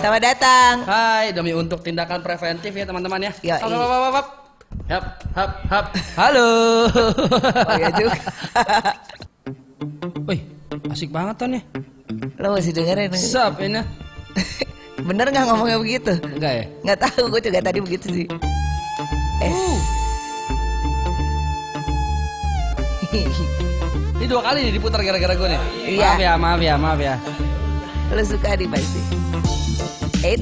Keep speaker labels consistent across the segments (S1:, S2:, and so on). S1: Selamat datang.
S2: Hai, demi untuk tindakan preventif ya teman-teman ya.
S1: Yoi.
S2: Hap, hap, hap, hap. Hap, hap, hap. Halo.
S1: Oh iya juga.
S2: Wih, asik banget Ton ya.
S1: Lo masih dengerin?
S2: Sup, ini.
S1: Bener nggak ngomongnya begitu?
S2: Enggak ya?
S1: Nggak tahu, gue juga tadi begitu sih. Eh,
S2: Uh, ini dua kali nih diputar gara-gara gue nih.
S1: Iya.
S2: Maaf ya, maaf ya, maaf ya.
S1: lo suka nih pasti. Eh,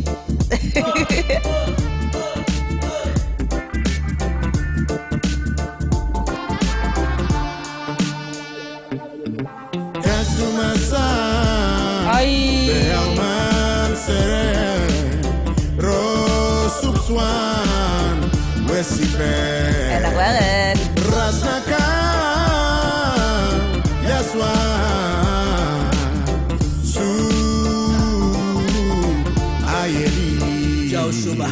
S3: Es tu mesa
S2: Hai.
S3: de Alman Rosubsuan
S1: enak
S3: Wesipe
S1: banget.
S3: Rasnakan Yaswan Su Ayeli
S4: Jauh Subah.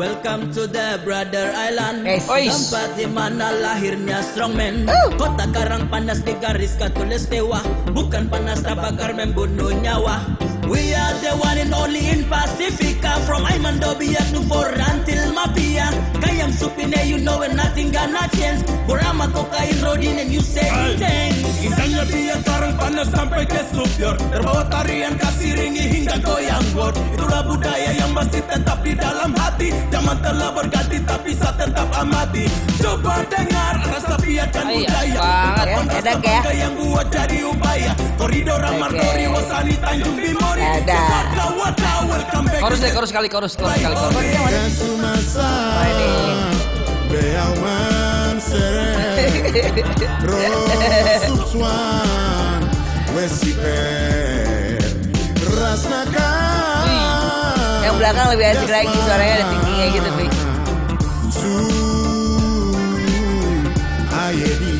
S4: Welcome to the Brother Island
S1: Yes.
S2: Ois.
S4: Tempat di mana lahirnya strongman Kota karang panas di garis katulis dewa Bukan panas tak bakar membunuh nyawa We are the one and only in Pacifica From Aymando Biak Nubor until Mafia Kayam supine you know and nothing gonna change Kurama kokain rodin and you say thanks
S5: Indahnya biar karang panas sampai ke supir Terbawa tarian kasiringi hingga goyang bor Itulah budaya yang masih tetap di dalam hati Zaman telah berganti tapi saya tetap amati Coba dengar rasa biarkan
S2: Iya,
S5: Kan budaya
S1: Ya,
S2: banget.
S5: Panas
S1: enak ya.
S5: sebagai yang buat jadi upaya Koridor Amar
S1: Oke.
S5: Dori Wasani Tanjung Bimori
S1: Ada.
S5: Coba kawat kawat, welcome back
S2: Chorus deh, chorus kali, chorus, chorus kali, chorus.
S3: Es tu mesa de Alman Rosubsuan Wesiper Rasnakan
S1: Yang belakang lebih asik lagi, suaranya ada tinggi kayak gitu, Pi.
S3: Su Ayedi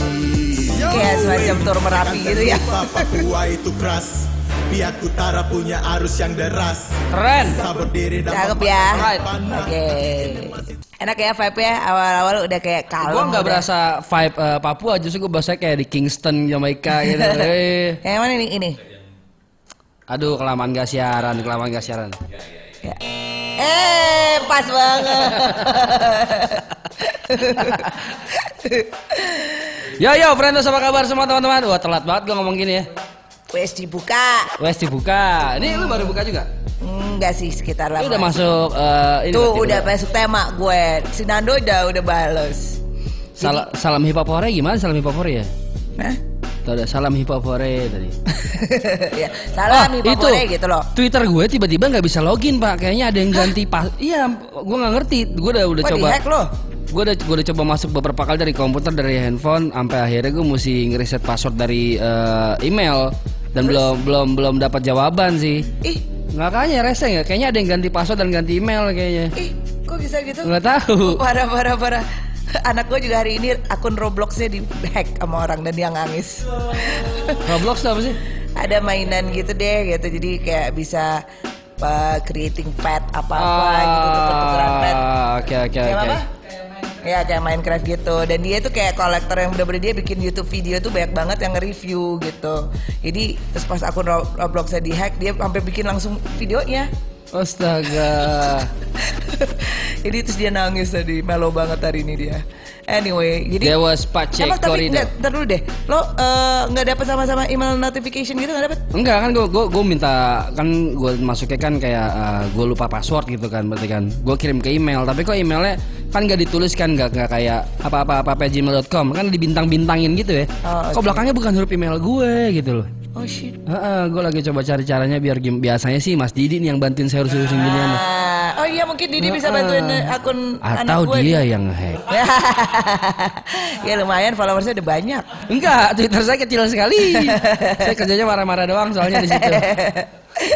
S1: Kayak semacam tur merapi gitu ya.
S5: Tanpa Papua itu keras Pihak utara punya arus yang deras
S2: Keren.
S5: Tak berdiri dan
S1: Cakep ya.
S2: Alright.
S1: Oke. Enak ya vibe-nya awal-awal udah kayak kalem.
S2: Gue nggak
S1: udah.
S2: berasa vibe eh, Papua, justru gue berasa kayak di Kingston, Jamaika gitu. Eh,
S1: Yang mana nih ini?
S2: Aduh, kelamaan gak siaran, kelamaan gak siaran.
S1: Ya. Eh, pas banget.
S2: Yo yo, Friendos apa kabar semua teman-teman? Wah telat banget gue ngomong gini ya.
S1: Wes dibuka.
S2: Wes dibuka. Ini lu baru buka juga?
S1: Enggak sih sekitar lama.
S2: Lu udah masuk eh, ini
S1: Tuh
S2: berarti,
S1: udah masuk tema gue. Si Nando udah udah balas.
S2: Sala- salam hip hop hore gimana salam hip hop hore ya?
S1: Nah.
S2: Tuh ada salam hip hop hore tadi.
S1: ya, salam
S2: Oh,
S1: nih itu. gitu loh.
S2: Twitter gue tiba-tiba nggak bisa login pak. Kayaknya ada yang ganti pas. Iya, gue nggak ngerti. Gue udah udah
S1: Wah,
S2: coba.
S1: di-hack loh.
S2: Gue udah gue udah coba masuk beberapa kali dari komputer dari handphone sampai akhirnya gue mesti ngereset password dari eh, email dan belum belum belum dapat jawaban sih.
S1: Ih,
S2: Nggak kayaknya rese nggak? Kayaknya ada yang ganti password dan ganti email kayaknya.
S1: ih, kok bisa gitu?
S2: Nggak tahu.
S1: Parah, parah, parah. Anak gue juga hari ini akun Robloxnya di hack sama orang dan dia nangis.
S2: Roblox tuh apa sih?
S1: Ada mainan gitu deh, gitu. Jadi kayak bisa uh, creating pet apa-apa gitu, tuker-tukeran pet.
S2: Ah, Oke oke
S1: Kayak
S2: oke.
S1: apa? Ya kayak Minecraft gitu Dan dia tuh kayak kolektor yang bener-bener dia bikin Youtube video tuh banyak banget yang nge-review gitu Jadi terus pas akun Rob- Robloxnya di-hack Dia sampai bikin langsung videonya
S2: Astaga.
S1: Jadi terus dia nangis tadi Melo banget hari ini dia Anyway jadi
S2: Dewa Space
S1: Emang tapi
S2: Corridor.
S1: nggak ntar dulu deh Lo eh, nggak dapet sama-sama email notification gitu nggak dapet?
S2: Enggak kan gue gue minta kan gue masuknya kan kayak gue lupa password gitu kan berarti kan gue kirim ke email tapi kok emailnya kan gak ditulis kan nggak nggak kayak apa apa apa apa gmail.com kan dibintang bintangin gitu ya
S1: Oh,
S2: kok belakangnya bukan huruf email gue gitu loh
S1: Oh shit
S2: gue lagi coba cari caranya biar gim- biasanya sih Mas Didi nih yang bantuin saya urusin ginian
S1: Ah, Oh iya mungkin Didi bisa bantuin eh, akun anak
S2: atau
S1: gue
S2: dia yang hack
S1: Ya lumayan followersnya udah banyak
S2: enggak Twitter saya kecil sekali saya kerjanya marah-marah doang soalnya di situ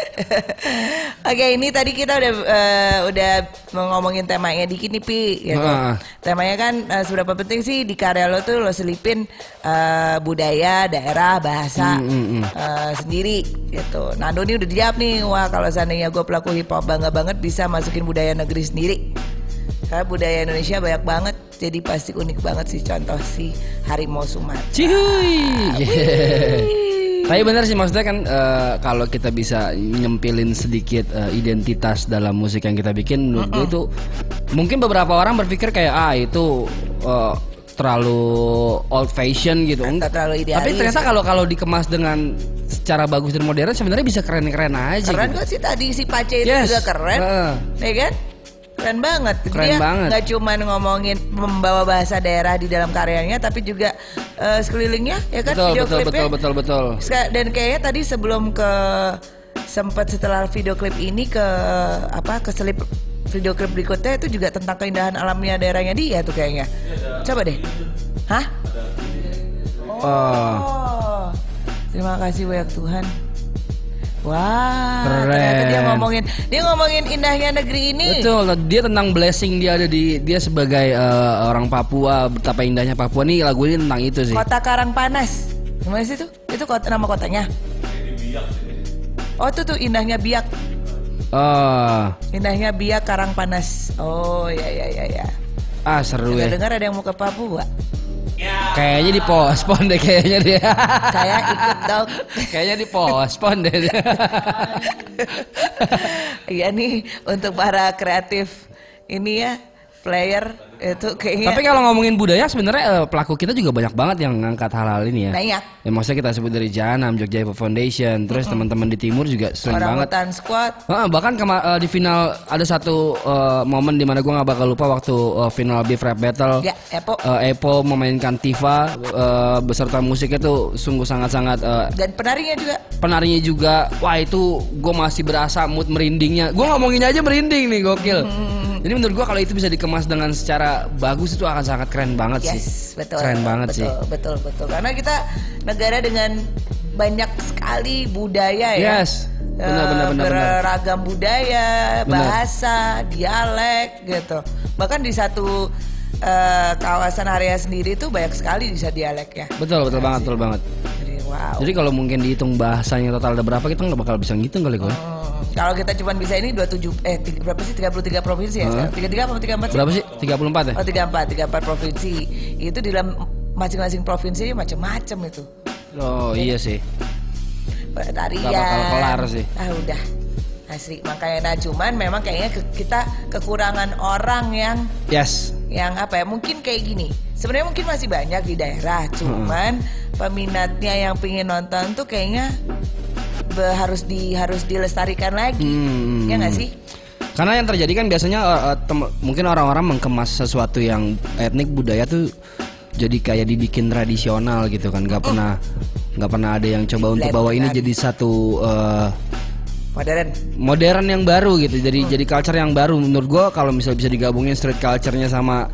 S1: Oke ini tadi kita udah eh, udah ngomongin temanya dikit nih Pi gitu.
S2: Nah.
S1: Temanya kan eh, seberapa penting sih di karya lo tuh lo selipin eh, budaya, daerah, bahasa
S2: Hmm,
S1: eh, sendiri gitu Nando nih udah dijawab nih Wah kalau seandainya gue pelaku hip hop bangga banget bisa masukin budaya negeri sendiri Karena budaya Indonesia banyak banget jadi pasti unik banget sih contoh si Harimau Sumatera
S2: Cihuy. Yeah. Tapi benar sih maksudnya kan eh, kalau kita bisa nyempilin sedikit eh, identitas dalam musik yang kita bikin menurut gue itu mungkin beberapa orang berpikir kayak ah itu eh, terlalu old fashion gitu.
S1: Atau terlalu idealis. ya.
S2: Tapi ternyata kalau kalau dikemas dengan secara bagus dan modern sebenarnya bisa keren-keren aja.
S1: Keren
S2: gitu.
S1: kok sih tadi si Pace itu
S2: Yes. Eh,
S1: juga keren,
S2: Heeh.
S1: ya kan? Keren banget.
S2: Keren
S1: Dia
S2: banget.
S1: Gak cuman ngomongin membawa bahasa daerah di dalam karyanya, tapi juga eh, sekelilingnya, ya kan?
S2: Betul,
S1: video
S2: betul,
S1: klipnya.
S2: betul, betul, betul.
S1: Seka- Dan kayaknya tadi sebelum ke sempat setelah video klip ini ke apa ke selip video klip berikutnya itu juga tentang keindahan alamnya daerahnya dia tuh kayaknya. Coba deh. Hah?
S2: Oh.
S1: Oh, terima kasih banyak Tuhan. Wah,
S2: Keren.
S1: ternyata dia ngomongin dia ngomongin indahnya negeri ini.
S2: Betul, dia tentang blessing dia ada di dia sebagai eh, orang Papua, betapa indahnya Papua nih lagu ini tentang itu sih.
S1: Kota Karangpanas. Gimana sih itu? Itu kota nama kotanya. Oh, itu tuh indahnya Biak.
S2: Oh,
S1: Indahnya Biak Karangpanas. Oh, ya ya ya ya.
S2: ah seru ya.
S1: Dengar ada yang mau ke Papua.
S2: Kayaknya di postpone deh kayaknya dia.
S1: Saya ikut dong.
S2: kayaknya di postpone deh. dia.
S1: Iya nih untuk para kreatif ini ya player itu kayaknya
S2: Tapi kalau ngomongin budaya sebenarnya eh, pelaku kita juga banyak banget yang ngangkat hal-hal ini ya.
S1: Banyak.
S2: Ya, maksudnya kita sebut dari Janam, Jogja Hip Hop Foundation, terus teman-teman di timur juga sering
S1: orang
S2: banget
S1: hutan squad
S2: Ah, bahkan kema- eh, di final ada satu eh, momen dimana gue nggak bakal lupa waktu eh, final Beef Rap Battle.
S1: Ya, Epo.
S2: Eh, Epo memainkan Tifa eh, beserta musiknya tuh sungguh sangat-sangat eh,
S1: dan penarinya juga
S2: penarinya juga. Wah itu gue masih berasa mood merindingnya. Gue ngomonginnya aja merinding nih gokil.
S1: Hmm.
S2: Jadi menurut gue kalau itu bisa dikemas dengan secara bagus itu akan sangat keren banget sih.
S1: Yes, betul.
S2: Keren banget
S1: betul,
S2: sih.
S1: Betul, betul. Karena kita negara dengan banyak sekali budaya ya.
S2: Yes.
S1: Eh,
S2: Benar, benar, benar, benar.
S1: Beragam budaya,
S2: Benar.
S1: bahasa, dialek gitu. Bahkan di satu eh, kawasan area sendiri tuh banyak sekali bisa dialeknya.
S2: Betul betul banget betul banget.
S1: Jadi wow.
S2: Jadi kalau mungkin dihitung bahasanya total ada berapa kita nggak bakal bisa ngitung kali gue.
S1: Hmm, kalau kita cuma bisa ini 27 eh tiga- berapa sih 33 provinsi ya? sekarang? 33 apa 34 sih?
S2: Berapa sih? 34 ya?
S1: Oh 34, 34 provinsi. Itu di dalam masing-masing provinsi macam-macam itu.
S2: Oh iya sih.
S1: tarian
S2: Gak bakal kelar sih.
S1: ah udah asli makanya nah cuman memang kayaknya ke- kita kekurangan orang yang
S2: Yes.
S1: yang apa ya mungkin kayak gini sebenarnya mungkin masih banyak di daerah cuman peminatnya yang pengen nonton tuh kayaknya be- harus di harus dilestarikan lagi
S2: Hmm.
S1: ya nggak sih
S2: Karena yang terjadi kan biasanya eh, eh, tem- mungkin orang-orang mengkemas sesuatu yang etnik budaya tuh jadi kayak dibikin tradisional gitu kan. Gak pernah nggak pernah ada yang coba untuk bawa ini
S1: Lebaran.
S2: jadi satu eh,
S1: modern
S2: modern yang baru gitu. Jadi jadi culture yang baru menurut gua kalau misalnya bisa digabungin street culture-nya sama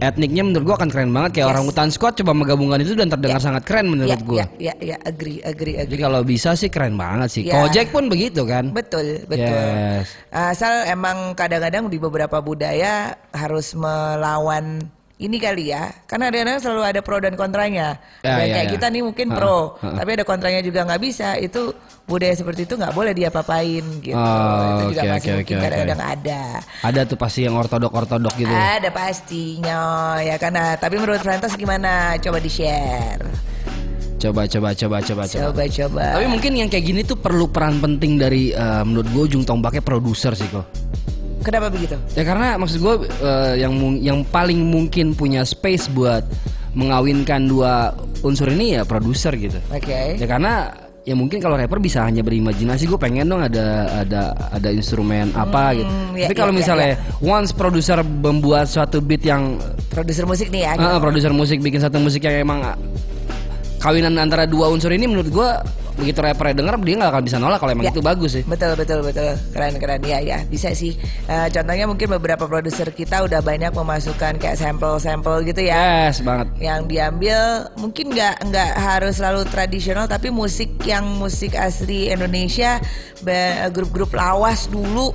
S2: etniknya menurut gua akan keren banget kayak orang hutan squad coba menggabungkan itu dan terdengar sangat keren
S1: ya,
S2: menurut gua.
S1: ya ya ya agree agree agree
S2: Jadi kalau bisa sih keren banget sih.
S1: Ya.
S2: Kojek pun begitu kan.
S1: Betul, betul.
S2: Yes.
S1: Asal emang kadang-kadang di beberapa budaya harus melawan ini kali ya. Karena kadang-kadang selalu ada pro dan kontranya.
S2: Ya,
S1: Dan
S2: ya,
S1: kayak
S2: ya.
S1: kita nih mungkin
S2: Ha-ha,
S1: pro,
S2: ha-ha.
S1: tapi ada kontranya juga nggak bisa. Itu budaya seperti itu nggak boleh dia papain gitu.
S2: Oh,
S1: itu juga
S2: oke,
S1: masih
S2: oke,
S1: mungkin
S2: oke, oke.
S1: kadang-kadang ada.
S2: Ada tuh pasti yang ortodok-ortodok gitu. ya.
S1: Ada pastinya ya karena tapi menurut Frantos gimana? Coba di-share.
S2: Coba coba coba coba coba.
S1: Coba-coba.
S2: Tapi mungkin yang kayak gini tuh perlu peran penting dari eh, menurut gue ujung tombaknya produser sih kok.
S1: Kenapa begitu?
S2: Ya karena maksud gue eh, yang mung- yang paling mungkin punya space buat mengawinkan dua unsur ini ya produser gitu.
S1: Oke.
S2: Ya karena ya mungkin kalau rapper bisa hanya berimajinasi gue pengen dong ada ada ada instrumen apa gitu.
S1: ya,
S2: Tapi kalau
S1: ya, ya,
S2: misalnya once produser membuat suatu beat yang
S1: Produser musik nih ya.
S2: Ah, produser musik bikin satu musik yang emang ah, kawinan antara dua unsur ini menurut gua begitu rapper denger dia nggak akan bisa nolak kalau
S1: Ya.
S2: emang itu bagus sih.
S1: Betul betul betul keren keren ya ya bisa sih. Eh, contohnya mungkin beberapa produser kita udah banyak memasukkan kayak sampel-sampel gitu ya.
S2: Yes banget.
S1: Yang diambil mungkin nggak nggak harus selalu tradisional tapi musik yang musik asli Indonesia ba- grup-grup lawas dulu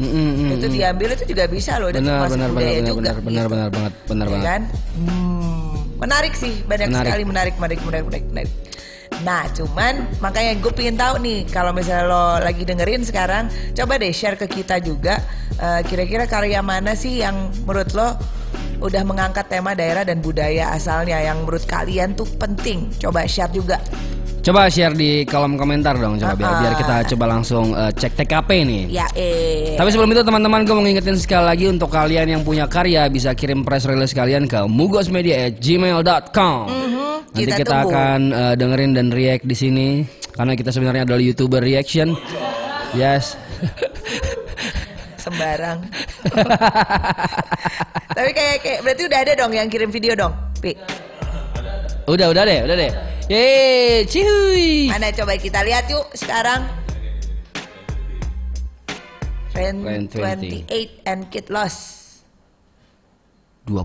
S1: itu diambil itu juga bisa loh dan
S2: Benar
S1: termasuk
S2: benar benar
S1: budaya
S2: benar
S1: juga,
S2: benar benar
S1: gitu.
S2: benar banget benar
S1: Ya
S2: banget.
S1: kan? Hmm, menarik sih banyak
S2: Menarik.
S1: sekali menarik menarik menarik menarik. menarik. Nah, cuman makanya gue pengen tahu nih kalau misalnya lo lagi dengerin sekarang, coba deh share ke kita juga eh, kira-kira karya mana sih yang menurut lo udah mengangkat tema daerah dan budaya asalnya yang menurut kalian tuh penting. Coba share juga.
S2: Coba share di kolom komentar dong coba biar
S1: Uh-uh.
S2: biar kita coba langsung eh, cek TKP nih.
S1: Ya eh.
S2: Tapi sebelum itu teman-teman gue mau ngingetin sekali lagi untuk kalian yang punya karya bisa kirim press release kalian ke mugosmedia@gmail.com.
S1: Mhm.
S2: Nanti
S1: kita
S2: kita,
S1: tunggu.
S2: akan eh, dengerin dan react di sini karena kita sebenarnya adalah youtuber reaction. Yes.
S1: sembarang. Tapi kayak kayak berarti udah ada dong yang kirim video dong. Pi.
S2: udah udah deh, udah deh. Yeay, cihuy.
S1: Mana coba kita lihat yuk sekarang. Ren
S2: 28
S1: 28 and Kid Lost.
S2: 28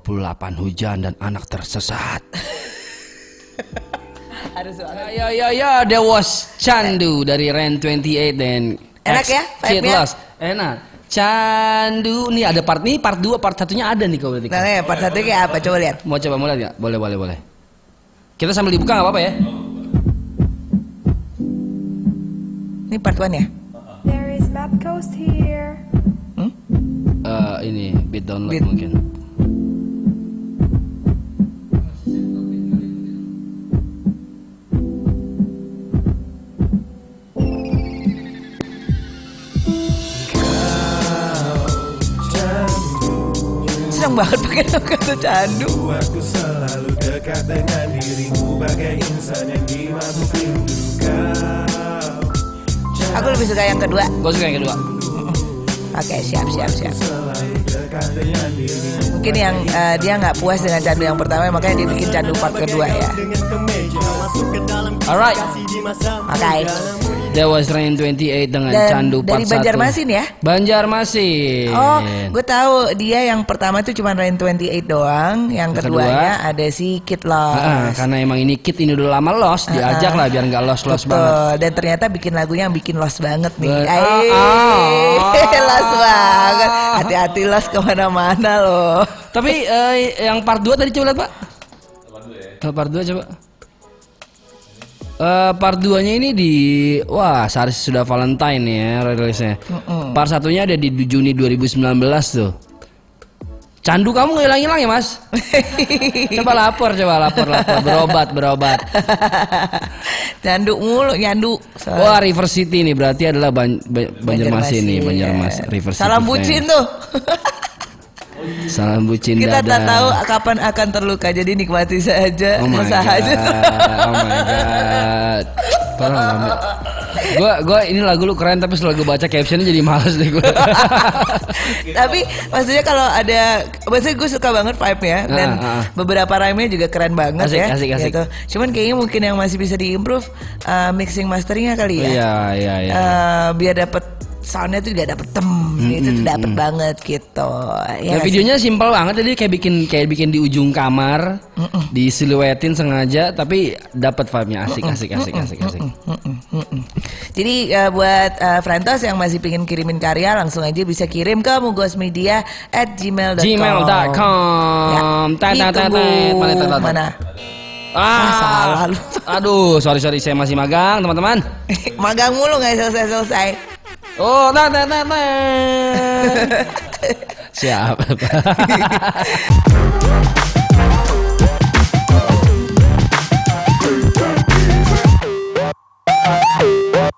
S2: hujan dan anak tersesat.
S1: Harus banget.
S2: Ya ya ya, there was Chandu dari Ren 28 dan
S1: Enak ya,
S2: Kid
S1: vibe-nya?
S2: Lost. Enak. Candu nih ada part nih part 2 part satunya ada nih kalau berarti.
S1: Nah, ya, part satu kayak apa coba lihat.
S2: Mau coba mulai nggak? Boleh boleh boleh. Kita sambil dibuka nggak apa-apa ya?
S1: Ini part 1 ya.
S6: There is map coast here.
S1: Hmm?
S2: Eh, ini beat download
S1: Beat.
S2: mungkin.
S1: Seneng banget pakai nama tuh candu.
S3: Aku selalu dekat dengan dirimu Bagai insan yang dimasuk rindu Kau
S1: Aku lebih suka yang kedua.
S2: Gue suka yang kedua.
S1: Oke, siap siap siap. Mungkin yang eh, dia nggak puas dengan candu yang pertama, makanya dia bikin candu part kedua ya.
S2: Alright,
S1: Oke.
S2: there was Rain 28 dengan
S1: Dan
S2: Candu part
S1: dari Banjarmasin ya?
S2: Banjarmasin.
S1: Oh, gue tahu dia yang pertama tuh cuma Rain 28 doang, yang
S2: Yang
S1: keduanya ada si Kid Lost.
S2: Ah, ah, karena emang ini kit ini udah lama lost, diajak lah biar nggak lost lost
S1: Ah, Betul.
S2: banget.
S1: Dan ternyata bikin lagunya yang bikin los banget nih.
S2: Bet-
S1: Ay,
S2: Ah, ah, ah.
S1: los banget. Hati-hati los kemana-mana loh.
S2: Tapi eh, yang part 2 tadi coba lihat, Pak. Eh, Part 2 coba. Eh, part 2-nya ini di wah, sehari sudah Valentine ya rilisnya. Part satunya ada di Juni 2019 tuh. Candu kamu nggak hilang-hilang ya, Mas? coba lapor, coba lapor, lapor. Berobat, berobat.
S1: Nyandu mulu, nyandu. Salah.
S2: Wah, River City nih berarti adalah Ban- Ban- Banjarmasin nih, Banjarmasin. River City.
S1: Iya. Salam
S2: fans.
S1: bucin tuh.
S2: Salam bucin
S1: Kita tak
S2: dadah.
S1: tahu kapan akan terluka. Jadi nikmati saja,
S2: Oh my god.
S1: usaha aja.
S2: Oh my god. Tolong Mami. Gua gua ini lagu lu keren tapi setelah gue baca captionnya jadi males deh gua.
S1: Tapi maksudnya kalau ada maksudnya gue suka banget vibe-nya dan
S2: Ah, ah, ah.
S1: beberapa rhyme-nya juga keren banget
S2: Asik,
S1: ya.
S2: asik, asik.
S1: gitu. Cuman kayaknya mungkin yang masih bisa diimprove uh, mixing masteringnya kali ya.
S2: Iya iya iya.
S1: Uh, biar dapet soundnya tuh juga dapet tem gitu tuh dapet banget gitu. Ya
S2: Nah,
S1: nggak sih?
S2: videonya simpel banget jadi kayak bikin kayak bikin di ujung kamar, disiluetin sengaja tapi dapat vibe-nya asik asik asik asik asik.
S1: Jadi uh, buat uh, Frantos yang masih pingin kirimin karya langsung aja bisa kirim ke mugosmedia@gmail.com.
S2: gmail.com.
S1: Ya.
S2: Tat, tat, tat,
S1: Ditunggu.
S2: tat. Mana, tat, tat, tat.
S1: Mana?
S2: Ah,
S1: salah lu.
S2: Aduh, sorry sorry saya masih magang teman-teman.
S1: Magang mulu nggak selesai-selesai.
S2: Oh, tat, tat, tat, tat. Siap.